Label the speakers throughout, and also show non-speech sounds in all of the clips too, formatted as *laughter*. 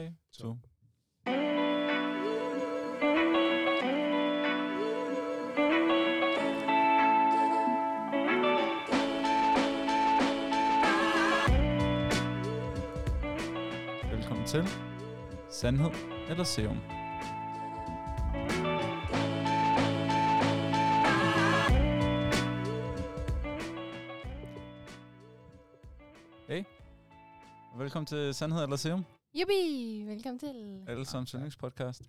Speaker 1: næste uge. Velkommen til Sandhed eller Serum. Hey, og velkommen til Sandhed eller Serum,
Speaker 2: Jubi, velkommen til.
Speaker 1: alle sammen yndlingspodcast.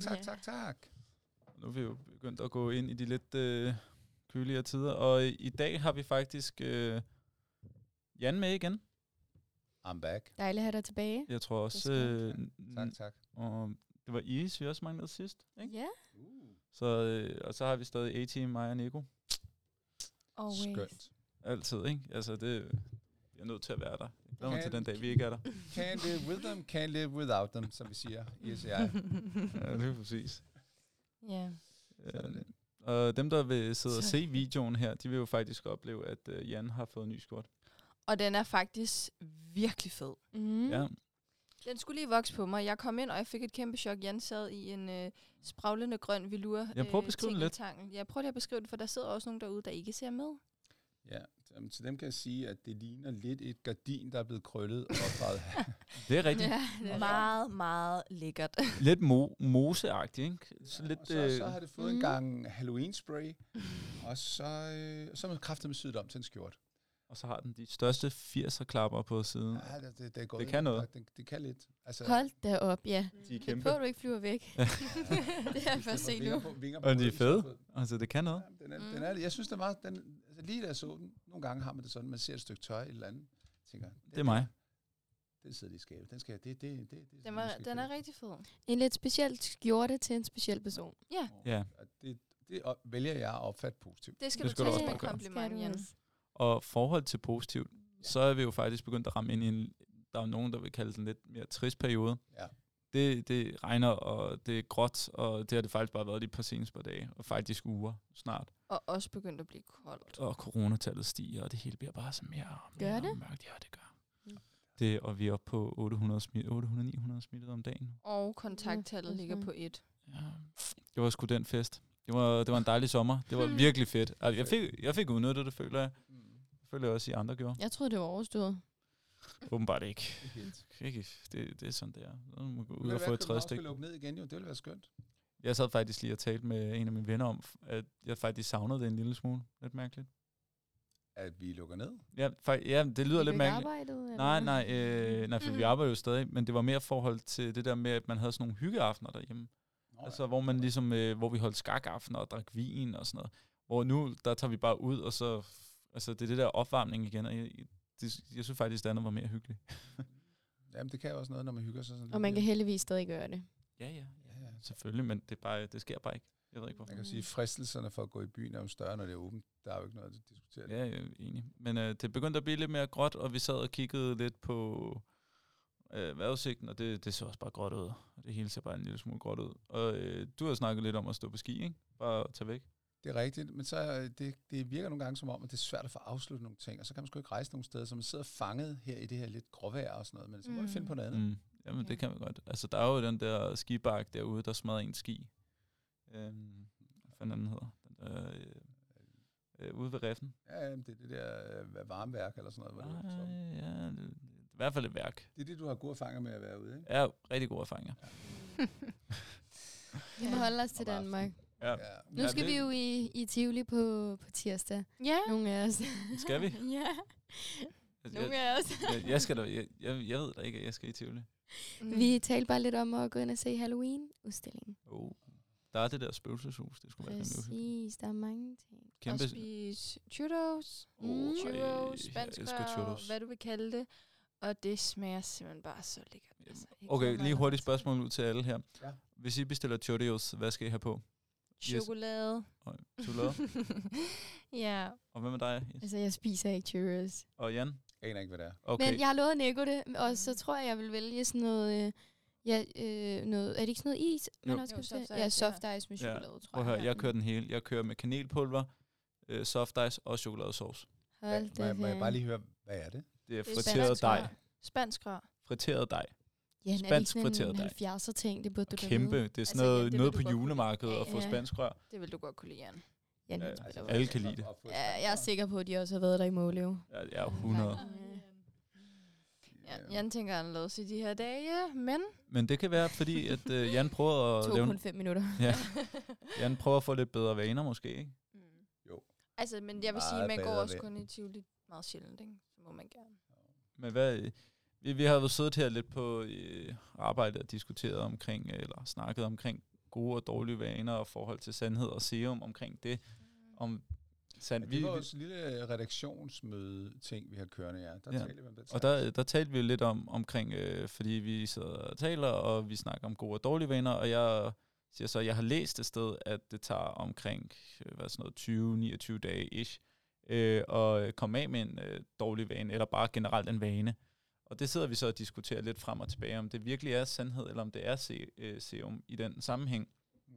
Speaker 2: *laughs*
Speaker 3: tak, tak, tak.
Speaker 1: Nu er vi jo begyndt at gå ind i de lidt øh, køligere tider, og øh, i, i dag har vi faktisk øh, Jan med igen.
Speaker 3: I'm back.
Speaker 2: Dejligt at have dig tilbage.
Speaker 1: Jeg tror også,
Speaker 2: Det er
Speaker 1: øh,
Speaker 3: Tak,
Speaker 1: n-
Speaker 3: tak.
Speaker 1: og det var Iris, vi også manglede sidst. Ikke?
Speaker 2: Ja,
Speaker 1: Så, øh, og så har vi stadig A-Team, mig og Nico.
Speaker 2: always.
Speaker 3: Skønt.
Speaker 1: Altid, ikke? Altså, det, jeg er nødt til at være der. Jeg glæder mig til
Speaker 3: Kan-
Speaker 1: den dag, vi ikke er der.
Speaker 3: Can't live with them, can't live without them, som vi siger.
Speaker 1: *laughs*
Speaker 3: Yes, jeg.
Speaker 1: Ja, det er præcis.
Speaker 2: Ja.
Speaker 3: Sådan
Speaker 1: Øh,
Speaker 3: lidt.
Speaker 1: og dem, der vil sidde og se videoen her, de vil jo faktisk opleve, at øh, Jan har fået en ny skjort.
Speaker 4: Og den er faktisk virkelig fed.
Speaker 2: Mm.
Speaker 1: Ja,
Speaker 4: Den skulle lige vokse på mig. Jeg kom ind, og jeg fik et kæmpe chok. Jan sad i en øh, spraglende grøn velur.
Speaker 1: Ja, prøv at beskrive den lidt.
Speaker 4: tingeltangel. Ja, prøv lige at beskrive den, for der sidder også nogen derude, der ikke ser med.
Speaker 3: Ja, jamen, til dem kan jeg sige, at det ligner lidt et gardin, der er blevet krøllet og opdraget.
Speaker 1: det er rigtigt.
Speaker 2: ja det er meget.
Speaker 4: Meget, meget lækkert.
Speaker 1: Lidt mo- moseagtigt, ikke? *laughs* Så
Speaker 3: Ja,
Speaker 1: lidt,
Speaker 3: og så, så
Speaker 1: øh,
Speaker 3: har det fået en
Speaker 2: Mhm.
Speaker 3: gang Halloween-spray, og så, øh, så er man kraftet med syet om til en skjort.
Speaker 1: Og så har den de største 80'er klapper på siden.
Speaker 3: Ja, det, det, det, er gået
Speaker 1: Mm. Det
Speaker 3: ind.
Speaker 1: kan noget.
Speaker 3: Det, det kan lidt. Altså,
Speaker 2: Hold *laughs* da op, ja.
Speaker 1: De er
Speaker 2: Kæmpe. På, at du ikke flyver væk. *laughs* det har jeg først set nu.
Speaker 3: På, vinger
Speaker 1: Og de er
Speaker 3: ryggen,
Speaker 1: fede.
Speaker 3: så-
Speaker 1: Altså, det kan noget.
Speaker 3: Ja, den er, den er, jeg synes, den var, den, altså, lige da jeg så den, nogle gange har man det sådan, man ser et stykke tøj et eller andet, tænker, den
Speaker 1: Det er mig.
Speaker 3: der, Den sidder lige i skabet. Den skal jeg- det, det, det, det,
Speaker 4: Den, var,
Speaker 3: skal jeg
Speaker 4: den er
Speaker 3: købe.
Speaker 4: rigtig fed.
Speaker 2: En lidt speciel skjorte til en speciel person.
Speaker 1: Ja.
Speaker 3: Og det, det op- vælger jeg at opfatte positivt.
Speaker 4: Det skal
Speaker 1: Det
Speaker 4: du
Speaker 1: skal du
Speaker 4: tage
Speaker 1: også
Speaker 4: som
Speaker 1: bare
Speaker 4: et
Speaker 1: gøre.
Speaker 4: kompliment, Jan.
Speaker 2: også.
Speaker 1: Og forhold til positivt, så er vi jo faktisk begyndt at ramme ind i en, der er jo nogen, der vil kalde den lidt mere trist periode.
Speaker 3: Ja.
Speaker 1: Det, det regner, og det er gråt, og det har det faktisk bare været de par seneste par dage, og faktisk uger snart.
Speaker 4: Og også begyndt at blive koldt.
Speaker 1: Og coronatallet stiger, og det hele bliver bare så mere og mere
Speaker 2: Gør det? Mm.
Speaker 1: og mørkt. Ja, det gør. Det, og vi er oppe på 800 smi- 800-900 smittede om dagen.
Speaker 4: Og kontakttallet
Speaker 2: Ja,
Speaker 4: ligger
Speaker 2: mhm.
Speaker 4: på et.
Speaker 1: Ja. Det var sgu den fest. Det var, det var en dejlig sommer. Det var
Speaker 3: Hmm.
Speaker 1: virkelig fedt. Altså, Jeg fik, jeg fik udnyttet det, føler jeg.
Speaker 4: Mm.
Speaker 1: Føler jeg også, I andre gjorde.
Speaker 2: Jeg troede, det var overstået.
Speaker 1: Åbenbart ikke.
Speaker 3: Helt.
Speaker 1: ikke. Det, det er sådan, det er. Så må man gå ud
Speaker 3: Ved du
Speaker 1: og
Speaker 3: hvad,
Speaker 1: få et tredje
Speaker 3: København
Speaker 1: stik.
Speaker 3: skal lukke ned igen, jo. Det ville være skønt.
Speaker 1: Jeg sad faktisk lige og talte med en af mine venner om, at jeg faktisk savnede det en lille smule. Lidt mærkeligt.
Speaker 3: At vi lukker ned.
Speaker 1: Ja, fakt, ja det lyder lidt mærkeligt.
Speaker 2: Arbejdet,
Speaker 1: Nej, nej, øh, nej, for
Speaker 3: Mm-hmm.
Speaker 1: vi
Speaker 4: Mm.
Speaker 1: arbejder jo stadig, men det var mere forhold til det der med, at man havde sådan nogle hyggeaftener derhjemme.
Speaker 3: Nå,
Speaker 1: Oh, altså, hvor man ligesom, øh, hvor vi holdt skakaftener og drak vin og sådan noget. Hvor nu, der tager vi bare ud, og så, altså, det er det der opvarmning igen, og jeg, det, jeg synes faktisk, det andet var mere hyggeligt.
Speaker 3: Jamen, det kan jo også noget, når man hygger sig sådan
Speaker 2: Og man kan
Speaker 3: lidt.
Speaker 2: heldigvis stadig gøre det.
Speaker 1: Ja, ja, ja,
Speaker 3: Ja, ja.
Speaker 1: selvfølgelig, men det, er bare, det sker bare ikke. Jeg ved ikke, hvorfor.
Speaker 3: Man kan sige,
Speaker 4: Mm.
Speaker 3: fristelserne for at gå i byen er jo større, når det er åbent. Der er jo ikke noget at diskutere.
Speaker 1: Ja, jeg er enig. Men øh, det begyndte at blive lidt mere gråt, og vi sad og kiggede lidt på øh, vejrudsigten, og det, det så også bare gråt ud. Og det hele ser bare en lille smule gråt ud. Og øh, du har snakket lidt om at stå på ski, ikke? Bare at tage væk.
Speaker 3: Det er rigtigt, men så er det, det virker nogle gange som om, at det er svært at få afsluttet nogle ting, og så kan man sgu ikke rejse nogen steder, så man sidder fanget her i det her lidt gråvejr og sådan noget, men så må vi
Speaker 4: Mm.
Speaker 3: finde på noget andet.
Speaker 1: Mm. Jamen,
Speaker 4: Ja.
Speaker 1: det kan vi godt. Altså, der er jo den der skibak derude, der smadrer en ski. Øhm, hvad fanden den hedder? Den der, øh, øh, ude ved Reffen.
Speaker 3: Ja, jamen, det er det der øh, varmeværk eller sådan noget. Hvor det,
Speaker 1: Nej,
Speaker 3: er toppen.
Speaker 1: ja, det, i hvert fald et værk.
Speaker 3: det er det, du har gode erfaringer med at være ude, ikke?
Speaker 1: Ja, rigtig gode erfaringer.
Speaker 2: Vi må holde os til
Speaker 3: Om aftenen.
Speaker 2: Danmark.
Speaker 1: Ja.
Speaker 2: Nu
Speaker 1: Ja,
Speaker 2: skal
Speaker 1: det-
Speaker 2: vi jo i, i Tivoli på, på tirsdag.
Speaker 4: Ja,
Speaker 2: Nogle af os.
Speaker 1: *laughs* Skal
Speaker 3: *laughs*
Speaker 1: vi?
Speaker 2: *laughs* ja,
Speaker 1: Altså,
Speaker 2: nogle
Speaker 1: jeg,
Speaker 2: af os.
Speaker 1: jeg, jeg, skal da, jeg, jeg, jeg ved da ikke, at jeg skal i Tivoli.
Speaker 4: Mm.
Speaker 2: Vi talte bare lidt om at gå ind og se Halloween-udstillingen.
Speaker 1: Oh. Der er det der spøgelseshus, det skulle være rimelig uhyggeligt.
Speaker 2: Præcis, der er mange ting.
Speaker 1: Kæmpe,
Speaker 4: Og spise churros,
Speaker 1: Åh,
Speaker 4: mm.
Speaker 1: ej,
Speaker 4: churros,
Speaker 1: jeg
Speaker 4: spansk
Speaker 1: elsker churros.
Speaker 4: churros. hvad du vil kalde det. Og det smager simpelthen bare så lækkert. Altså, jeg glæder
Speaker 1: okay,
Speaker 4: mig
Speaker 1: lige hurtigt
Speaker 4: allerede
Speaker 1: spørgsmål ud til alle her.
Speaker 3: Ja.
Speaker 1: Hvis I bestiller churros, hvad skal I have på?
Speaker 4: til Chokolade.
Speaker 1: Og
Speaker 2: *laughs*
Speaker 1: chokolade.
Speaker 4: ja,
Speaker 1: og hvad med dig? Yes.
Speaker 2: Altså, jeg spiser ikke churros.
Speaker 1: Og Jan?
Speaker 3: Jeg aner ikke, hvad det er.
Speaker 1: Okay.
Speaker 2: Okay. Men jeg har lovet Nico det,
Speaker 4: Mm.
Speaker 2: og så tror jeg, jeg vil vælge sådan noget... Øh, ja, øh, noget, er det ikke sådan noget is, man
Speaker 1: Jo.
Speaker 2: også
Speaker 4: Jo,
Speaker 2: kan
Speaker 4: soft
Speaker 2: bestille?
Speaker 4: ice,
Speaker 2: Ja, soft ice med
Speaker 1: Ja,
Speaker 2: chokolade, tror
Speaker 1: Prøv at høre,
Speaker 2: jeg.
Speaker 1: jeg kører den hele. Jeg kører med kanelpulver, øh, soft ice og chokoladesauce.
Speaker 2: Hold
Speaker 3: Hvad- må,
Speaker 2: da
Speaker 3: jeg- må jeg bare
Speaker 2: lige...
Speaker 3: lige høre, hvad er det?
Speaker 1: Det er
Speaker 4: Det er
Speaker 1: friteret
Speaker 4: spansk rør.
Speaker 1: dej.
Speaker 4: spansk rør.
Speaker 1: Friteret dej.
Speaker 2: Ja, den er det
Speaker 1: Spansk
Speaker 2: ikke sådan
Speaker 1: kvarteret,
Speaker 2: en
Speaker 1: der er
Speaker 2: 70'er ting, det burde du da vide.
Speaker 1: Kæmpe. Det er sådan
Speaker 4: Altså, ja,
Speaker 1: noget,
Speaker 4: det vil
Speaker 1: noget
Speaker 4: du
Speaker 1: på
Speaker 4: godt kunne.
Speaker 1: julemarkedet
Speaker 4: Ja,
Speaker 1: at få
Speaker 2: ja.
Speaker 1: spansk rør.
Speaker 4: Det vil du godt kunne lide, Jan.
Speaker 2: Ja,
Speaker 1: Ja,
Speaker 2: den-
Speaker 1: altså, alle kan lide det.
Speaker 2: ja, jeg er sikker på, at de også har været der i Måløv.
Speaker 1: Ja, det er 100.
Speaker 4: Ah, Ja, Jan tænker anderledes i de her dage, men...
Speaker 1: Men det kan være, fordi at øh, Jan prøver at lave,
Speaker 2: 2,5 minutter.
Speaker 1: *laughs* ja, Jan prøver at få lidt bedre vaner måske, ikke?
Speaker 4: Mm.
Speaker 3: Jo.
Speaker 4: Altså, men jeg vil sige,
Speaker 3: Meget
Speaker 4: man går
Speaker 3: bedre
Speaker 4: også
Speaker 3: ved.
Speaker 4: kun i Tivoli meget sjældent, ikke? Så må man gerne.
Speaker 1: Men hvad, øh, vi, vi har jo siddet her lidt på øh, arbejde og diskuteret omkring, øh, eller snakket omkring gode og dårlige vaner og forhold til sandhed og serum omkring det. Om sand,
Speaker 3: Men det
Speaker 1: vi,
Speaker 3: var
Speaker 1: vi-
Speaker 3: vores lille redaktionsmøde-ting, vi har kørende, ja. Der
Speaker 1: Ja.
Speaker 3: ja. talte vi om det.
Speaker 1: og der, der talte vi jo lidt om, omkring, øh, fordi vi sidder og taler, og vi snakker om gode og dårlige vaner, og jeg siger så, at jeg har læst et sted, at det tager omkring øh, hvad er sådan noget, 20-29 dage ish, øh, at komme af med en øh, dårlig vane, eller bare generelt en vane. Og det sidder vi så og diskuterer lidt frem og tilbage, om det virkelig er sandhed, eller om det er se, øh, serum i den sammenhæng.
Speaker 3: Mm.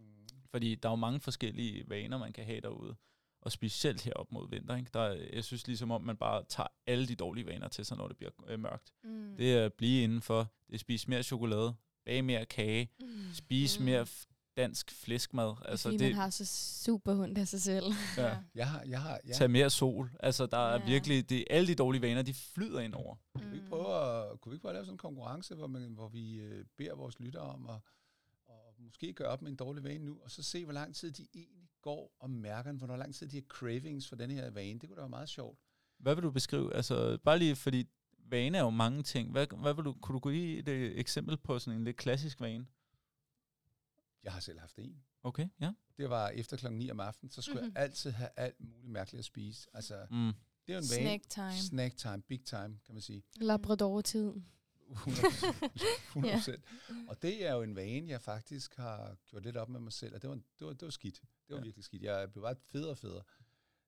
Speaker 1: Fordi der er jo mange forskellige vaner, man kan have derude. Og specielt herop mod vinter. Ikke? Der, er- jeg synes ligesom om, man bare tager alle de dårlige vaner til sig, når det bliver øh, mørkt.
Speaker 4: Mm.
Speaker 1: Det er at blive indenfor. Det er at spise mere chokolade. Bage mere kage. Spise
Speaker 4: Mm.
Speaker 1: mere f- dansk flæskmad.
Speaker 2: Altså,
Speaker 1: Altså,
Speaker 2: fordi
Speaker 1: det,
Speaker 2: det... man har så super ondt af sig selv.
Speaker 1: ja.
Speaker 3: Jeg har, jeg har, jeg
Speaker 1: Tag mere sol. Altså, der er
Speaker 4: Ja.
Speaker 1: virkelig... Det, alle de dårlige vaner, de flyder ind over.
Speaker 3: Kunne vi ikke
Speaker 4: Mm.
Speaker 3: prøve at, kunne vi ikke prøve at lave sådan en konkurrence, hvor, man, hvor vi øh, beder vores lyttere om at og måske gøre op med en dårlig vane nu, og så se, hvor lang tid de egentlig går og mærker den, hvor lang tid de har cravings for den her vane. Det kunne da være meget sjovt.
Speaker 1: Hvad vil du beskrive? Altså, bare lige fordi vane er jo mange ting. Hvad, hvad vil du, kunne du gå i et øh, eksempel på sådan en lidt klassisk vane?
Speaker 3: Jeg har selv haft en.
Speaker 1: Okay, ja.
Speaker 3: Det var efter klokken 9 om aftenen, så
Speaker 4: Mhm.
Speaker 3: skulle mm-hmm. jeg altid have alt muligt mærkeligt at spise. Altså,
Speaker 1: Mm.
Speaker 3: det er jo en vane.
Speaker 4: Snack time.
Speaker 3: Snack time, big time, kan man sige.
Speaker 2: Labrador-tid.
Speaker 3: 100%.
Speaker 4: Ja.
Speaker 3: 100%. Og det er jo en vane, jeg faktisk har gjort lidt op med mig selv, og det var, det var, det var skidt. Det var
Speaker 1: Ja.
Speaker 3: ja. virkelig skidt. Jeg blev bare federe og federe.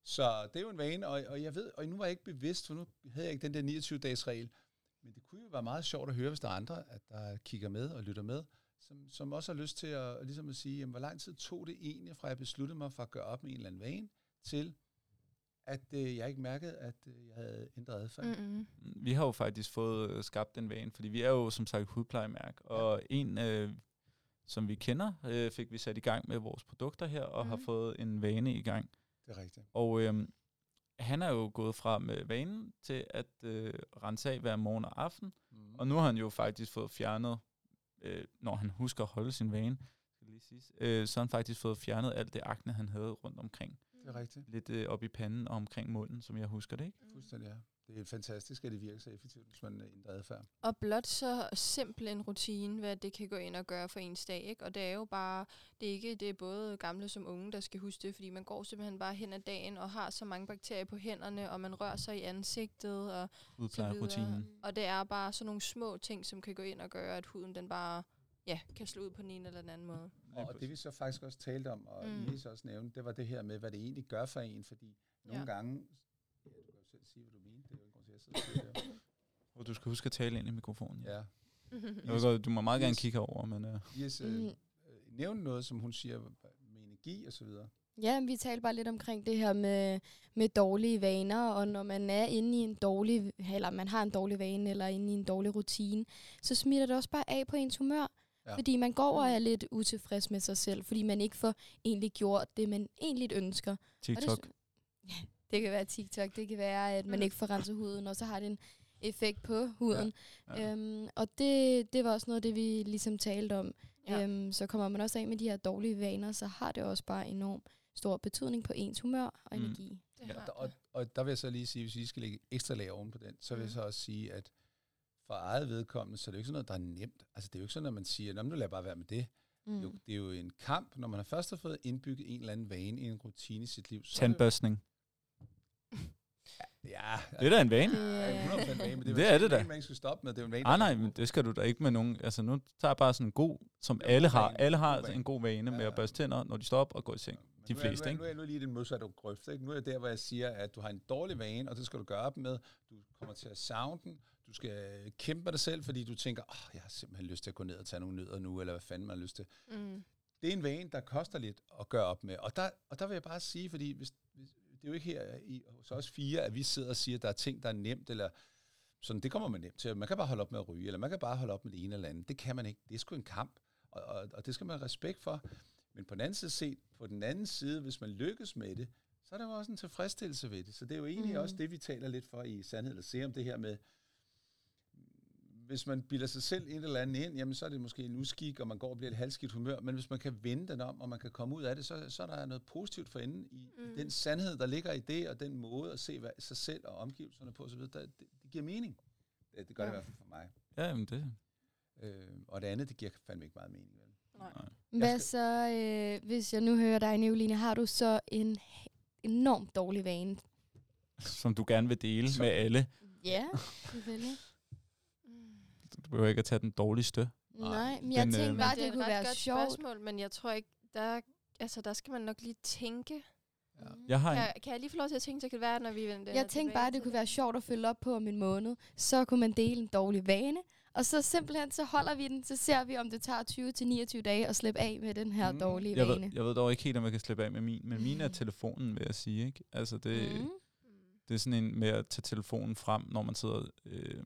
Speaker 3: Så det er jo en vane, og, og jeg ved, og nu var jeg ikke bevidst, for nu havde jeg ikke den der 29-dages regel. Men det kunne jo være meget sjovt at høre, hvis der er andre, at der kigger med og lytter med, som, som også har lyst til at, ligesom at sige, jamen, hvor lang tid tog det egentlig, fra jeg besluttede mig for at gøre op med en eller anden vane, til at øh, jeg ikke mærkede, at øh, jeg havde ændret adfærd. Mm.
Speaker 4: Mm-mm.
Speaker 1: Vi har jo faktisk fået øh, skabt den vane, fordi vi er jo som sagt hudplejemærke, og en, øh, som vi kender, øh, fik vi sat i gang med vores produkter her, og mm. har
Speaker 4: Mhm.
Speaker 1: fået en vane i gang.
Speaker 3: Det er rigtigt.
Speaker 1: Og øh, han er jo gået fra med vanen til at øh, rense af hver morgen og aften,
Speaker 3: Mm.
Speaker 1: Og nu har han jo faktisk fået fjernet, øh, når han husker at holde sin vane, skal det lige siges, øh, så har han faktisk fået fjernet alt det akne, han havde rundt omkring.
Speaker 3: Det er rigtigt.
Speaker 1: Lidt øh, op i panden og omkring munden, som jeg husker det, ikke?
Speaker 3: Fuldstændig, ja. Det er fantastisk, at det virker så effektivt, hvis man ændrer adfærd.
Speaker 4: Og blot så simpel en rutine, hvad det kan gå ind og gøre for ens dag, ikke? Og det er jo bare, det er ikke, det er både gamle som unge, der skal huske det, fordi man går simpelthen bare hen ad dagen og har så mange bakterier på hænderne, og man rører sig i ansigtet, og,
Speaker 1: Udplejerrutinen.
Speaker 4: og det er bare sådan nogle små ting, som kan gå ind og gøre, at huden den bare, ja, kan slå ud på den ene eller den anden måde.
Speaker 3: Og det vi så faktisk også talte om, og
Speaker 4: Mm.
Speaker 3: mm. Ines også nævnte, det var det her med, hvad det egentlig gør for en, fordi nogle
Speaker 4: Ja.
Speaker 3: gange, ja, du kan jo selv sige, hvad du mener, det er jo ikke grund til, at jeg sidder og siger det.
Speaker 1: Og du skal huske at tale ind i mikrofonen. Ja.
Speaker 3: Ja.
Speaker 1: Jeg ved godt, du må meget gerne
Speaker 3: Yes.
Speaker 1: kigge over, men øh,
Speaker 3: Ines, øh,
Speaker 2: Mm.
Speaker 3: øh, nævne noget, som hun siger med energi og så videre.
Speaker 2: Ja, vi talte bare lidt omkring det her med, med dårlige vaner, og når man er inde i en dårlig, eller man har en dårlig vane, eller inde i en dårlig rutine, så smitter det også bare af på ens humør.
Speaker 3: Ja.
Speaker 2: Ja. Fordi man går og er lidt utilfreds med sig selv, fordi man ikke får egentlig gjort det, man egentlig ønsker.
Speaker 1: TikTok.
Speaker 2: *laughs* Og det, det kan være TikTok, det kan være, at man
Speaker 4: Mm.
Speaker 2: ikke får renset huden, og så har det en effekt på huden. Ja.
Speaker 1: Ja.
Speaker 2: Ja. Øhm, og det, det var også noget af det, vi ligesom talte om.
Speaker 4: *laughs* Ja.
Speaker 2: Ja. Øhm, så kommer man også af med de her dårlige vaner, så har det også bare enorm stor betydning på ens humør og
Speaker 1: Mm.
Speaker 2: energi.
Speaker 4: Det
Speaker 3: Ja,
Speaker 4: har
Speaker 3: der, og, og der vil jeg så lige sige, hvis I skal lægge ekstra lag oven på den, så vil jeg
Speaker 4: Mm.
Speaker 3: så også sige, at for eget vedkommende, så er det jo ikke sådan noget, der er nemt. Altså det er jo ikke sådan, at man siger, "Nå, men nu lader jeg bare være med det.
Speaker 2: Mm.
Speaker 3: Jo, det er jo en kamp, når man har først har fået indbygget en eller anden vane, en rutine i sit liv. Så er det jo-
Speaker 1: Tandbørstning.
Speaker 3: Ja,
Speaker 1: Det er da en vane.
Speaker 3: det
Speaker 2: øh,
Speaker 3: er 100% vane, men det er,
Speaker 1: Det
Speaker 3: jo
Speaker 1: er det
Speaker 3: ikke en
Speaker 1: da.
Speaker 3: vane, man ikke skulle stoppe med. Det er jo en vane,
Speaker 1: Ah nej,
Speaker 3: man skal
Speaker 1: men
Speaker 3: stoppe
Speaker 1: det skal du da ikke med nogen. Altså nu tager jeg bare sådan en god, som
Speaker 3: Det er en
Speaker 1: alle
Speaker 3: god
Speaker 1: har.
Speaker 3: vane.
Speaker 1: Alle har
Speaker 3: God
Speaker 1: altså
Speaker 3: vane.
Speaker 1: en god vane med
Speaker 3: Ja,
Speaker 1: at
Speaker 3: ja.
Speaker 1: børste tænder, når de står op og går i seng.
Speaker 3: med. Men
Speaker 1: de
Speaker 3: nu er jeg-
Speaker 1: fleste,
Speaker 3: nu er,
Speaker 1: ikke?
Speaker 3: Nu er jeg nu lige i den modsatte grøft. Ikke? Nu er jeg der, hvor jeg siger, at du har en dårlig vane, og det skal du gøre op med. Du kommer til at savne den. Du skal kæmpe med dig selv, fordi du tænker, oh, jeg har simpelthen lyst til at gå ned og tage nogle nødder nu, eller hvad fanden man har lyst til.
Speaker 4: Mm.
Speaker 3: det er en vane, der koster lidt at gøre op med. Og der, og der vil jeg bare sige, fordi hvis, hvis, det er jo ikke her i, hos os fire, at vi sidder og siger, at der er ting, der er nemt, eller Sådan, det kommer man nemt til. Man kan bare holde op med at ryge, eller man kan bare holde op med det ene eller andet. Det kan man ikke. Det er sgu en kamp, og, og, og det skal man have respekt for. Men på den anden side set, på den anden side, hvis man lykkes med det, så er der jo også en tilfredsstillelse ved det. Så det er jo egentlig
Speaker 2: Mhm.
Speaker 3: mm. også det, vi taler lidt for i Sandhed eller Se om det her med, hvis man bilder sig selv et eller andet ind, jamen så er det måske en uskik, og man går og bliver et halvskidt humør, men hvis man kan vende den om, og man kan komme ud af det, så, så er der noget positivt for enden i
Speaker 4: Mm.
Speaker 3: mm. den sandhed, der ligger i det, og den måde at se hvad, sig selv og omgivelserne på osv., der, det, det giver mening. Det, det gør ja.
Speaker 2: Ja.
Speaker 3: det i hvert fald for mig.
Speaker 1: Ja, jamen det.
Speaker 3: Øh, og det andet, det giver fandme ikke meget mening. Vel?
Speaker 4: Nej.
Speaker 2: Hvad
Speaker 3: skal-
Speaker 2: så, øh, hvis jeg nu hører dig, Nicoline, har du så en h- enormt dårlig vane?
Speaker 1: Som du gerne vil dele
Speaker 3: Så-
Speaker 1: med alle.
Speaker 2: Ja, selvfølgelig.
Speaker 4: Mm.
Speaker 1: Du behøver ikke at tage den dårligste.
Speaker 2: Nej, men
Speaker 1: Den,
Speaker 2: jeg
Speaker 1: øh,
Speaker 2: tænkte bare,
Speaker 4: Men
Speaker 2: at det,
Speaker 4: et
Speaker 2: kunne
Speaker 4: ret
Speaker 2: være
Speaker 4: godt
Speaker 2: sjovt.
Speaker 4: spørgsmål, men jeg tror ikke, der, altså, der skal man nok lige tænke.
Speaker 3: Ja.
Speaker 1: Jeg har en,
Speaker 4: Kan, kan jeg lige få lov til at tænke, så kan Mm. det være, når vi vender
Speaker 2: Jeg tænkte bare, at det kunne være sjovt at følge op på om en måned. Så kunne man dele en dårlig vane, og så simpelthen så holder vi den, så ser vi, om det tager 20-29 dage at slippe af med den her
Speaker 3: Mm.
Speaker 2: dårlige
Speaker 1: jeg,
Speaker 2: vane.
Speaker 1: ved, jeg ved dog ikke helt, om jeg kan slippe af med min, men min er telefonen, vil jeg sige. Ikke? Altså det,
Speaker 2: Mm.
Speaker 1: det er sådan en med at tage telefonen frem, når man sidder... Øh,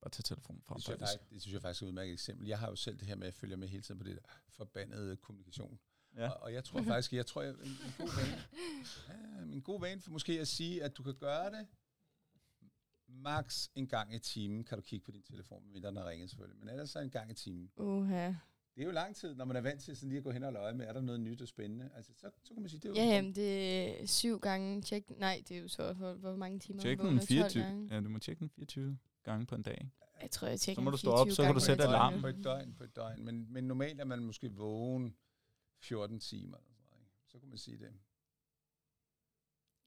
Speaker 1: bare tage telefonen frem,
Speaker 3: Det synes, jeg
Speaker 1: faktisk.
Speaker 3: faktisk, det synes jeg faktisk er et udmærket eksempel. Jeg har jo selv det her med, at jeg følger med hele tiden på det der forbandede kommunikation.
Speaker 1: Ja.
Speaker 3: Og, og jeg tror faktisk, jeg tror, jeg, en, en god vane, ja, en god vane for måske at sige, at du kan gøre det max en gang i timen, kan du kigge på din telefon, medmindre den har ringet selvfølgelig, men ellers så en gang i timen.
Speaker 2: Uha.
Speaker 3: Det er jo lang tid, når man er vant til sådan lige at gå hen og løje med, er der noget nyt og spændende? Altså, så, så kan man sige, det er jo...
Speaker 2: Ja, jamen, det er syv gange tjek. Nej, det er jo så for, hvor mange timer.
Speaker 1: Tjek
Speaker 2: man
Speaker 1: den
Speaker 2: vågner. 12
Speaker 1: 24.
Speaker 2: gange.
Speaker 1: Ja, du må tjekke den 24 gange på en dag. ikke?
Speaker 2: Jeg tror, jeg tjekker
Speaker 1: må
Speaker 2: den
Speaker 1: du stå op,
Speaker 2: 24
Speaker 1: så kan
Speaker 2: gange
Speaker 1: du sætte
Speaker 2: på et døgn.
Speaker 1: alarm.
Speaker 3: på et døgn, på et døgn. Men, men normalt er man måske vågen 14 timer. Eller sådan, noget, ikke? Så kan man sige det.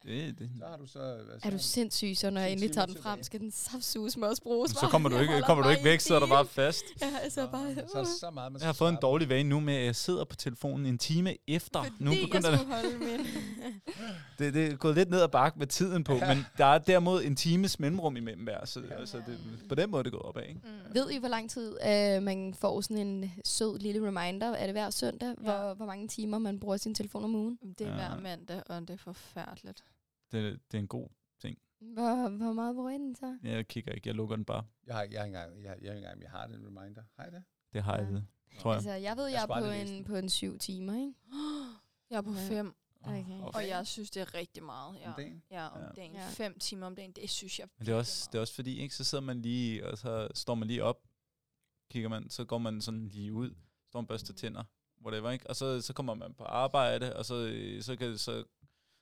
Speaker 1: Det,
Speaker 3: Så
Speaker 1: det.
Speaker 3: har du så... Altså,
Speaker 2: Er du sindssyg, så når jeg
Speaker 3: Syv
Speaker 2: endelig tager
Speaker 3: timer
Speaker 2: den frem,
Speaker 3: tilbage.
Speaker 2: skal den saftsuge mig også bruges
Speaker 1: Så
Speaker 2: bare.
Speaker 1: kommer du
Speaker 2: Jeg
Speaker 1: ikke,
Speaker 2: holder
Speaker 1: kommer du
Speaker 2: bare
Speaker 1: ikke
Speaker 2: i
Speaker 1: væk, sidder du
Speaker 2: timen.
Speaker 1: bare fast.
Speaker 2: *laughs* Ja, altså
Speaker 3: Nå,
Speaker 2: bare...
Speaker 3: men Så er der så meget, man
Speaker 1: Jeg har
Speaker 3: skal
Speaker 1: fået en
Speaker 3: svare på.
Speaker 1: dårlig vane nu med, at jeg sidder på telefonen en time efter.
Speaker 4: Fordi
Speaker 1: nu
Speaker 4: jeg
Speaker 1: begynder det,
Speaker 4: skulle holde min.
Speaker 1: det, det er gået lidt ned ad bakke med tiden på, men der er derimod en times mellemrum imellem hver, så ja. altså, det, på den måde er det gået opad. Ikke?
Speaker 4: Mm.
Speaker 2: *laughs* Ved I, hvor lang tid øh, man får sådan en sød lille reminder? Er det hver søndag, ja. hvor, hvor mange timer man bruger sin telefon om ugen?
Speaker 4: Det er hver
Speaker 1: Ja.
Speaker 4: mandag, og det er forfærdeligt.
Speaker 1: Det, det er en god...
Speaker 2: Hvor, hvor meget bruger I den så?
Speaker 1: Jeg kigger ikke, jeg lukker den bare.
Speaker 3: Jeg har, jeg har ikke engang, jeg, har- jeg har ikke engang, jeg har den reminder. Har jeg det?
Speaker 1: Det har jeg
Speaker 2: Ja.
Speaker 1: ved, tror jeg.
Speaker 2: Altså, jeg ved, jeg,
Speaker 3: Jeg
Speaker 2: er
Speaker 3: skulle
Speaker 2: på
Speaker 3: aldrig læse
Speaker 2: en,
Speaker 3: den.
Speaker 2: på en syv timer, ikke?
Speaker 4: Jeg er på
Speaker 2: Ja.
Speaker 4: fem,
Speaker 2: okay.
Speaker 1: Og-
Speaker 4: og jeg synes, det er rigtig meget.
Speaker 3: Ja.
Speaker 4: Ja,
Speaker 3: Om dagen?
Speaker 4: ja om
Speaker 1: Ja.
Speaker 4: dagen.
Speaker 2: Ja.
Speaker 4: Fem timer om dagen, det synes jeg
Speaker 1: Men det er,
Speaker 4: virkelig
Speaker 1: også, det er
Speaker 4: meget.
Speaker 1: også fordi, ikke, så sidder man lige, og så står man lige op, kigger man, så går man sådan lige ud, står man børster
Speaker 4: Mm.
Speaker 1: tænder, whatever, ikke? og så, så kommer man på arbejde, og så, øh, så, kan, så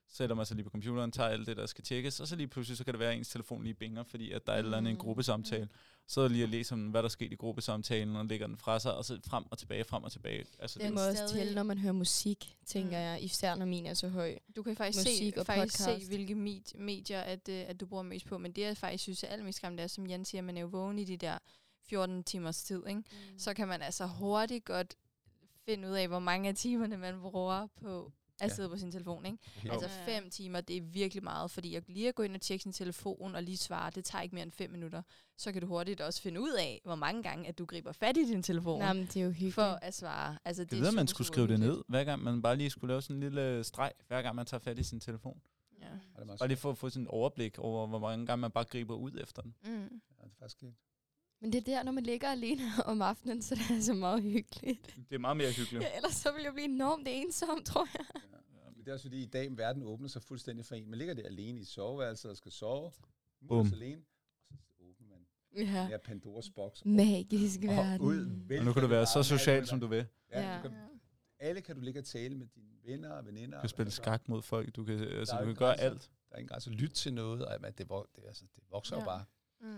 Speaker 1: sætter man sig lige på computeren, tager alt det, der skal tjekkes, og så lige pludselig, så kan det være, at ens telefon lige binger, fordi at der er et eller andet i en
Speaker 4: Mm.
Speaker 1: gruppesamtale. Så er jeg lige at læse om, hvad der skete i gruppesamtalen, og lægger den fra sig, og så frem og tilbage, frem og tilbage. Altså, det,
Speaker 2: Det
Speaker 4: Den
Speaker 2: må også
Speaker 4: stadig-
Speaker 2: tælle, når man hører musik, tænker
Speaker 4: Mm.
Speaker 2: jeg. Især når min er så høj.
Speaker 4: Du kan faktisk,
Speaker 2: musik
Speaker 4: se,
Speaker 2: og
Speaker 4: faktisk se,
Speaker 2: podcast.
Speaker 4: hvilke med- medier, at, øh, at du bruger mest på. Men det, jeg faktisk synes er allermest skræmmende, er, som Jan siger, man er jo vågen i de der 14 timers tid. Ikke? Mm. Så kan man altså hurtigt godt finde ud af, hvor mange af timerne man bruger på at
Speaker 3: Ja.
Speaker 4: sidde på sin telefon. Ikke?
Speaker 3: Jo.
Speaker 4: Altså
Speaker 2: Ja.
Speaker 4: fem timer, det er virkelig meget, fordi at lige at gå ind og tjekke sin telefon og lige svare, det tager ikke mere end fem minutter. Så kan du hurtigt også finde ud af, hvor mange gange, at du griber fat i din telefon
Speaker 2: Nej, men det er jo hyggeligt.
Speaker 4: for at svare. Altså, det
Speaker 1: det
Speaker 4: er
Speaker 1: ved, at man
Speaker 4: super,
Speaker 1: skulle
Speaker 4: super
Speaker 1: skrive det
Speaker 4: hyggeligt.
Speaker 1: ned, hver gang man bare lige skulle lave sådan en lille øh, streg, hver gang man tager fat i sin telefon.
Speaker 4: Ja.
Speaker 3: Er det, meget
Speaker 1: Bare
Speaker 3: sjovt?
Speaker 1: lige for at få sådan et overblik over, hvor mange gange man bare griber ud efter den.
Speaker 4: Mm.
Speaker 3: ja, det er faktisk ikke.
Speaker 2: Men det er der, når man ligger alene *laughs* om aftenen, så det er altså meget hyggeligt.
Speaker 1: Det er meget mere hyggeligt.
Speaker 2: Ja, *laughs* ellers så ville jeg blive enormt ensom, *laughs* tror jeg.
Speaker 3: Men det er også fordi, i dag verden åbner sig fuldstændig for en. Man ligger der alene i soveværelset og skal sove.
Speaker 1: Bum.
Speaker 3: Bum. alene. Og så åbner man den
Speaker 2: Ja.
Speaker 3: her Pandoras boks.
Speaker 2: Magisk
Speaker 3: Og
Speaker 2: verden.
Speaker 3: ud
Speaker 1: Og nu kan du
Speaker 3: vælter
Speaker 1: være
Speaker 3: det
Speaker 1: så
Speaker 3: bare.
Speaker 1: social, som du vil. Du
Speaker 3: Ja,
Speaker 2: Ja.
Speaker 3: Du kan, alle kan du ligge og tale med dine venner og veninder.
Speaker 1: kan spille
Speaker 3: Altså,
Speaker 1: skak mod folk, du kan, altså,
Speaker 3: Der
Speaker 1: du
Speaker 3: er jo
Speaker 1: kan
Speaker 3: ikke
Speaker 1: gøre
Speaker 3: grænser.
Speaker 1: alt.
Speaker 3: Der er ingen grænse. Lyt til noget. Og, jamen, det, vok- det, altså, det vokser jo
Speaker 4: Ja.
Speaker 3: bare.
Speaker 4: Mm.
Speaker 3: Det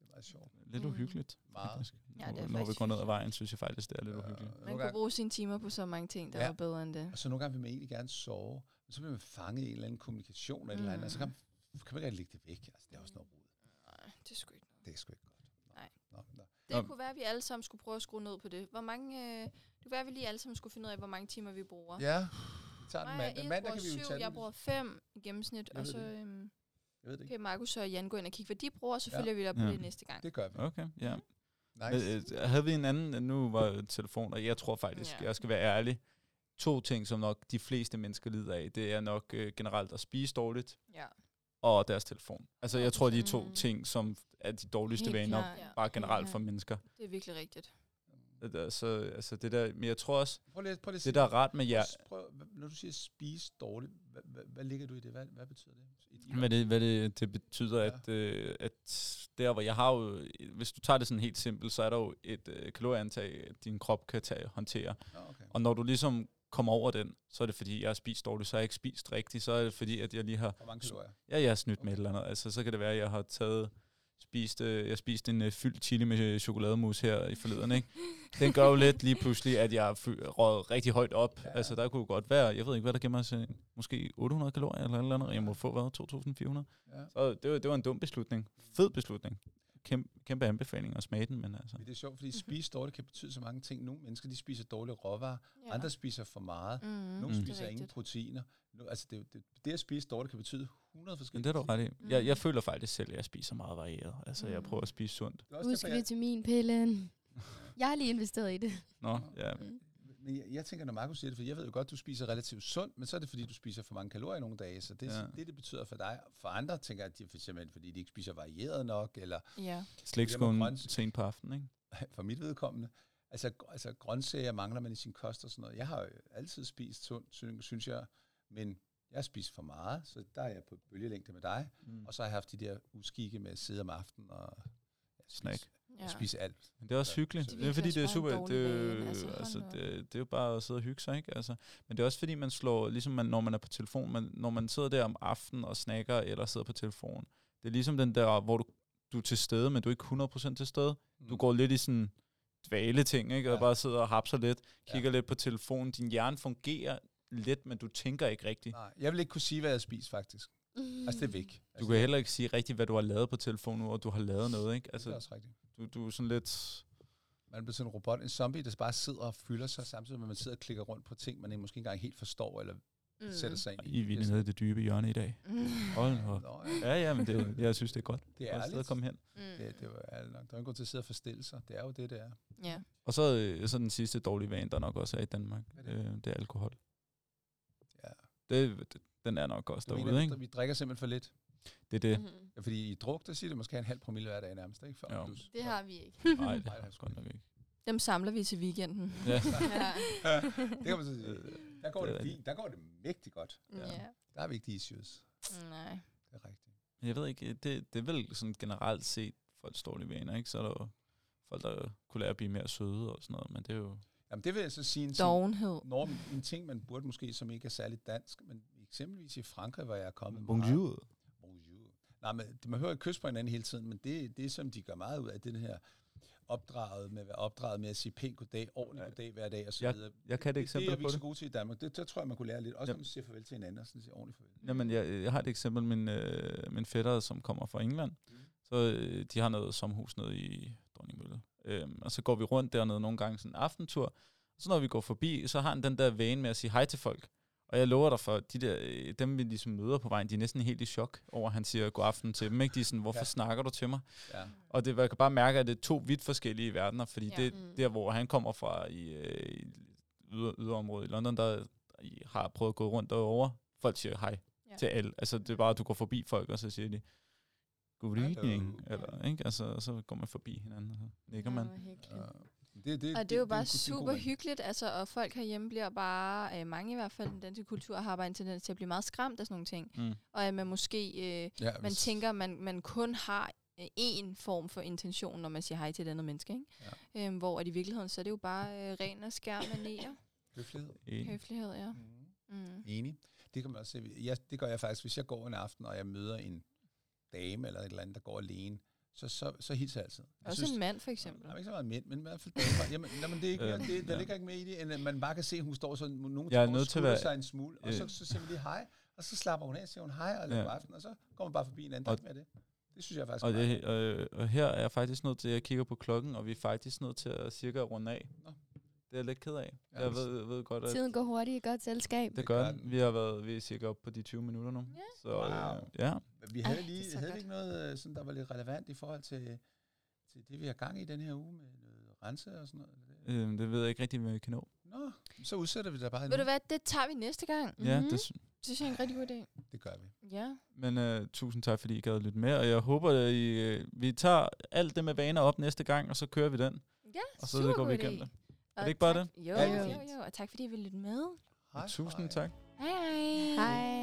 Speaker 3: er meget sjovt.
Speaker 1: Lidt
Speaker 4: Mm.
Speaker 1: uhyggeligt,
Speaker 3: Meget.
Speaker 1: faktisk.
Speaker 4: Ja, det er
Speaker 1: Når- Når vi
Speaker 4: faktisk
Speaker 1: går ned ad vejen, synes jeg faktisk, det er lidt
Speaker 3: Øh,
Speaker 1: uhyggeligt.
Speaker 3: nogle
Speaker 4: Man kunne
Speaker 3: gange-
Speaker 4: bruge sine timer på så mange ting, der ja.
Speaker 3: Ja.
Speaker 4: var bedre end det.
Speaker 3: Og så nogle gange vil man egentlig gerne sove, men så bliver man fanget i en eller anden kommunikation eller mm. eller andet, og så kan man, kan man ikke rigtig lægge det væk. Altså, det er også noget rod.
Speaker 4: Nej, det skulle ikke.
Speaker 3: Det er sgu ikke godt. Nå,
Speaker 4: Nej.
Speaker 3: Nå, nå.
Speaker 4: Det
Speaker 1: Om-
Speaker 4: kunne være, at vi alle sammen skulle prøve at skrue ned på det. Hvor mange, øh, det kunne være, at vi lige alle sammen skulle finde ud af, hvor mange timer vi bruger.
Speaker 3: Ja, vi tager den
Speaker 4: Mig og
Speaker 3: mandag.
Speaker 4: Ed
Speaker 3: Mandag
Speaker 4: bruger
Speaker 3: kan vi jo
Speaker 4: syv,
Speaker 3: tage
Speaker 4: jeg
Speaker 3: den.
Speaker 4: bruger fem i gennemsnit,
Speaker 3: Jeg
Speaker 4: og
Speaker 3: ved
Speaker 4: så
Speaker 3: det.
Speaker 4: øhm,
Speaker 3: Jeg ved det ikke.
Speaker 4: kan Markus og Jan gå ind og kigge, hvad de bruger, og så
Speaker 3: Ja.
Speaker 4: følger vi op på
Speaker 1: Ja.
Speaker 4: det næste gang.
Speaker 3: Det gør vi.
Speaker 1: Okay, ja. Men,
Speaker 3: Nice.
Speaker 1: øh, havde vi en anden, nu var telefon, og jeg tror faktisk,
Speaker 4: Ja.
Speaker 1: jeg skal være ærlig, to ting, som nok de fleste mennesker lider af, det er nok øh, generelt at spise dårligt,
Speaker 4: Ja.
Speaker 1: og deres telefon. Altså, jeg tror, de er to
Speaker 2: Mm.
Speaker 1: ting, som er de dårligste
Speaker 2: Helt
Speaker 1: vaner,
Speaker 2: klart.
Speaker 4: Ja.
Speaker 1: bare generelt
Speaker 2: klart.
Speaker 1: for mennesker.
Speaker 4: Det er virkelig rigtigt.
Speaker 1: Altså, altså det der, men jeg tror også,
Speaker 3: Prøv lige, prøv lige at
Speaker 1: det
Speaker 3: sige-
Speaker 1: der er rart med jer,
Speaker 3: Prøv, prøv, når du siger spise dårligt, hvad, hvad, hvad ligger du i det? Hvad, hvad betyder det? I din-
Speaker 1: Hvad det, hvad det, det betyder,
Speaker 3: Ja.
Speaker 1: ja. at, øh, at der hvor jeg har jo, hvis du tager det sådan helt simpelt, så er der jo et øh, kalorieantag, at din krop kan tage, håndtere.
Speaker 3: Nå, okay.
Speaker 1: Og når du ligesom kommer over den, så er det fordi, jeg har spist dårligt, så har jeg ikke spist rigtigt, så er det fordi, at jeg lige har,
Speaker 3: Hvor mange kalorier?
Speaker 1: ja, jeg har snydt med et eller andet. Altså, så kan det være, at jeg har taget, spist, øh, jeg spiste en øh, fyldt chili med øh, chokolademus her i forleden, ikke? Den gør jo lidt lige pludselig, at jeg er fy- røget rigtig højt op.
Speaker 3: Ja.
Speaker 1: Ja. Altså, der kunne jo godt være, jeg ved ikke, hvad der gemmer sig, måske 800 kalorier eller et eller andet, og jeg må få, hvad, 2.400?
Speaker 3: Ja.
Speaker 1: Så det var, det var en dum beslutning. Fed beslutning. Kæmpe, kæmpe anbefaling at smage den, men altså...
Speaker 3: Men det er sjovt, fordi
Speaker 4: Mhm.
Speaker 3: spise dårligt kan betyde så mange ting. Nogle mennesker, de spiser dårlige råvarer. Ja. Andre spiser for meget.
Speaker 4: mm,
Speaker 3: Nogle
Speaker 1: Mm.
Speaker 3: mm.
Speaker 1: det er
Speaker 3: spiser ingen proteiner. No, altså det, det, det at spise dårligt kan betyde 100
Speaker 1: Men
Speaker 3: forskellige
Speaker 1: det er du
Speaker 3: ting.
Speaker 1: ret i. Jeg, jeg føler faktisk selv, at jeg spiser meget varieret. Altså, jeg
Speaker 4: Mm.
Speaker 1: prøver at spise sundt.
Speaker 3: Det er også
Speaker 2: Husk
Speaker 3: derfor, jeg,
Speaker 1: *laughs*
Speaker 2: vitaminpillen. Jeg har lige investeret i det.
Speaker 1: Nå, ja.
Speaker 3: men jeg, jeg tænker, når Markus siger det, for jeg ved jo godt, du spiser relativt sundt, men så er det, fordi du spiser for mange kalorier nogle dage. Så det, ja.
Speaker 1: Ja.
Speaker 3: det, det betyder for dig. For andre tænker jeg, at det er simpelthen, fordi de ikke spiser varieret nok, eller *laughs*
Speaker 4: Ja.
Speaker 1: Slikskålen
Speaker 3: grøntsager.
Speaker 1: sent på aftenen, ikke?
Speaker 3: for mit vedkommende. Altså, gr- altså grøntsager mangler man i sin kost og sådan noget. Jeg har jo altid spist sundt, syn- synes jeg, men jeg har spist for meget, så der er jeg på bølgelængde med dig.
Speaker 1: Mm.
Speaker 3: Og så har jeg haft de der uskikke med at sidde om aftenen og ja, spise,
Speaker 1: Snack.
Speaker 4: ja.
Speaker 3: og spise alt.
Speaker 1: Men det er også
Speaker 3: Ja,
Speaker 1: hyggeligt.
Speaker 3: så-
Speaker 1: Det er fordi, det er
Speaker 4: Det er virkelig også bare
Speaker 1: super...
Speaker 4: en
Speaker 1: Det,
Speaker 4: dårlig vane,
Speaker 1: er
Speaker 4: altså,
Speaker 1: jo-
Speaker 4: hold
Speaker 1: altså,
Speaker 4: nu op.
Speaker 1: det, det er jo bare at sidde og hygge sig, ikke? Altså, men det er også fordi, man slår... Ligesom man, når man er på telefon, man, når man sidder der om aftenen og snakker eller sidder på telefonen. Det er ligesom den der, hvor du, du er til stede, men du er ikke 100% til stede. Du går lidt i sådan dvale ting, ikke? Og
Speaker 3: Mm. Ja.
Speaker 1: ja. bare sidder og hapser lidt,
Speaker 3: Ja.
Speaker 1: kigger ja. lidt på telefonen. Din hjerne fungerer lidt, men du tænker ikke rigtigt.
Speaker 3: Nej, jeg vil ikke kunne sige, hvad jeg spiser faktisk. Altså, det er væk.
Speaker 1: Du
Speaker 3: Altså,
Speaker 1: kan heller ikke sige rigtigt, hvad du har lavet på telefonen, og du har lavet noget, ikke?
Speaker 3: altså, det er
Speaker 1: Altså,
Speaker 3: også rigtigt.
Speaker 1: du, du er sådan lidt...
Speaker 3: Man bliver sådan en robot, en zombie, der bare sidder og fylder sig, samtidig med at man sidder og klikker rundt på ting, man ikke- måske ikke engang helt forstår, eller mm. sætter sig ind i.
Speaker 1: I er vildt nede i det dybe hjørne i dag.
Speaker 4: Mm.
Speaker 1: Hold nu op.
Speaker 3: Nå, ja,
Speaker 1: Ja, ja, men det, jeg synes, det er godt.
Speaker 3: det er
Speaker 1: Ja, sted at
Speaker 3: ærligt.
Speaker 1: komme hen.
Speaker 3: Det, det var ærligt nok. Der er jo ingen grund til at sidde og forstille sig. Det er jo det, det er.
Speaker 4: Ja.
Speaker 1: Og så, øh, så den sidste dårlige vane, der nok også er i Danmark,
Speaker 3: Hvad er
Speaker 1: øh, det er alkohol.
Speaker 3: Ja.
Speaker 1: Det, det- den er nok også
Speaker 3: Du
Speaker 1: derude,
Speaker 3: mener,
Speaker 1: ikke?
Speaker 3: at Vi drikker simpelthen for lidt.
Speaker 1: Det er det.
Speaker 3: Ja, fordi i druk, der siger det måske en halv promille hver dag nærmest, ikke?
Speaker 1: Jo.
Speaker 3: plus.
Speaker 4: Det har vi ikke.
Speaker 1: Nej, det
Speaker 3: Nej,
Speaker 1: er
Speaker 3: det er
Speaker 1: det godt nok ikke.
Speaker 4: Dem samler vi til weekenden.
Speaker 1: Ja.
Speaker 4: *laughs* ja.
Speaker 3: Det kan man så sige. Der
Speaker 1: *laughs*
Speaker 3: går
Speaker 1: det
Speaker 3: det,
Speaker 1: er
Speaker 3: det fint. Der går det mægtig godt.
Speaker 1: Ja.
Speaker 4: ja.
Speaker 3: Der har vi ikke de issues.
Speaker 4: Nej.
Speaker 3: Det er rigtigt.
Speaker 1: Men Jeg ved ikke, det, det er vel sådan generelt set folks dårlige vaner, ikke? Så er der jo folk, der kunne lære at blive mere søde og sådan noget, men det er jo...
Speaker 3: Jamen, det vil jeg så sige en ting.
Speaker 4: Dovenhed.
Speaker 3: Norm, en ting, man burde måske, som ikke er særligt dansk, men eksempelvis i Frankrig, hvor jeg er kommet meget.
Speaker 1: Bonjour.
Speaker 3: Bonjour. Nej, men det- man hører et kys på hinanden hele tiden, men det, det som de gør meget ud af, det er den her opdraget med at være opdraget med at sige pænt goddag, ordentligt
Speaker 1: Ja.
Speaker 3: goddag hver dag og så
Speaker 1: Ja,
Speaker 3: videre.
Speaker 1: Jeg kan et
Speaker 3: det er
Speaker 1: eksempel
Speaker 3: vi
Speaker 1: på
Speaker 3: ikke så
Speaker 1: det.
Speaker 3: gode til i Danmark. Det, der tror jeg, man kunne lære lidt. Også
Speaker 1: Ja.
Speaker 3: når man siger farvel til hinanden og sådan siger ordentligt farvel.
Speaker 1: Øh, Jamen, jeg, jeg har et eksempel. Min, øh, min fætter, som kommer fra England, så øh, de har noget sommerhus nede i Dronningmølle. Øhm, og så går vi rundt dernede nogle gange sådan en aftentur. Så når vi går forbi, så har han den der vane med at sige hej til folk. Og jeg lover dig for, de der, øh, dem vi ligesom møder på vejen, de er næsten helt i chok over, at han siger god aften til dem. Ikke? De er sådan, hvorfor
Speaker 3: Ja.
Speaker 1: ja. snakker du til mig?
Speaker 3: Ja.
Speaker 1: Og det, jeg kan bare mærke, at det er to vidt forskellige verdener, fordi
Speaker 4: Ja.
Speaker 1: ja. det
Speaker 2: Mm.
Speaker 1: der, hvor han kommer fra i, øh, i yder, yderområdet i London, der I har prøvet at gå rundt derovre. Folk siger hej
Speaker 4: Ja.
Speaker 1: ja. til alle. Altså, det er bare, at du går forbi folk, og så siger de, good
Speaker 3: Hello.
Speaker 1: evening,
Speaker 3: Ja.
Speaker 1: eller, ikke? Altså, og så går man forbi hinanden, og så nikker man.
Speaker 3: Ja. øh, Det, det,
Speaker 4: Og det er jo
Speaker 3: en
Speaker 4: bare
Speaker 3: god- det er en god
Speaker 4: super
Speaker 3: vane.
Speaker 4: hyggeligt, altså, og folk herhjemme bliver bare, øh, mange i hvert fald, den danske kultur har bare en tendens til at blive meget skræmt af sådan nogle ting.
Speaker 1: Mm.
Speaker 4: Og at man måske, øh,
Speaker 3: Ja,
Speaker 4: man
Speaker 3: hvis-
Speaker 4: tænker, man, man kun har en form for intention, når man siger hej til et andet menneske, ikke? Ja. Øhm, hvor at i virkeligheden, så er det jo bare øh, ren og skær manerer.
Speaker 3: Høflighed.
Speaker 1: En.
Speaker 4: Høflighed, ja.
Speaker 3: Mm.
Speaker 4: Mm.
Speaker 3: Enig. Det kan man også se. Jeg, det gør jeg faktisk, hvis jeg går en aften, og jeg møder en dame eller et eller andet, der går alene, så, så, så hilser jeg altid. Jeg
Speaker 4: Også en mand, for eksempel.
Speaker 3: Der er ikke så meget mænd, men i hvert fald damer. Jamen, jamen det er ikke,
Speaker 1: Øh,
Speaker 3: det, der
Speaker 1: ja.
Speaker 3: ligger ikke med i det, end at man bare kan se, at hun står sådan, nogen
Speaker 1: Jeg er
Speaker 3: står og
Speaker 1: nødt til at
Speaker 3: skutter
Speaker 1: være-
Speaker 3: sig en smule, og så,
Speaker 1: øh.
Speaker 3: så siger man lige hej, og så slapper hun af, siger hun hej, og ja.
Speaker 1: Ja.
Speaker 3: aften, og så går man bare forbi en anden, der
Speaker 1: Og-
Speaker 3: er ikke mere af det. Det synes jeg faktisk
Speaker 1: Og,
Speaker 3: er meget-
Speaker 1: det, øh, og her er jeg faktisk nødt til, jeg kigger på klokken, og vi er faktisk nødt til at cirka runde af.
Speaker 3: Nå.
Speaker 1: Det er jeg lidt ked af.
Speaker 3: Ja.
Speaker 1: Jeg ved, ved godt, at
Speaker 2: Tiden går hurtigt i godt selskab.
Speaker 1: det
Speaker 3: gør
Speaker 1: gør
Speaker 3: den.
Speaker 1: den. Vi har været vi er cirka oppe på de 20 minutter nu.
Speaker 4: Ja.
Speaker 1: Så øh,
Speaker 3: Wow.
Speaker 1: ja,
Speaker 3: Men Vi havde,
Speaker 4: Ej, det er
Speaker 3: lige,
Speaker 4: så
Speaker 3: havde vi
Speaker 4: godt.
Speaker 3: ikke noget, øh, sådan, der var lidt relevant i forhold til, til det, vi har gang i den her uge med noget rense og sådan noget? eller det?
Speaker 1: øh, det ved jeg ikke rigtig, hvad jeg kan nå.
Speaker 3: Nå, så udsætter vi det da bare
Speaker 4: Ved
Speaker 3: endnu.
Speaker 4: du hvad, det tager vi næste gang.
Speaker 1: Ja,
Speaker 2: Mhm.
Speaker 1: det, sy-
Speaker 4: Det synes jeg er en rigtig god idé.
Speaker 3: Det det gør vi.
Speaker 4: Ja.
Speaker 1: Men øh, tusind tak, fordi I gad lytte med, og jeg håber, at I, øh, vi tager alt det med vaner op næste gang, og så kører vi den.
Speaker 4: Ja,
Speaker 1: Og så går vi
Speaker 4: supergod
Speaker 1: igennem
Speaker 4: idé.
Speaker 1: det.
Speaker 4: Og
Speaker 1: det ikke bare
Speaker 4: tak- Jo,
Speaker 3: Ja, det
Speaker 4: ja,
Speaker 3: er
Speaker 4: jo,
Speaker 3: fint.
Speaker 4: jo. Og tak fordi I ville lytte med.
Speaker 1: Og tusind
Speaker 3: hej.
Speaker 1: tak.
Speaker 4: Hej hej.
Speaker 2: Hej.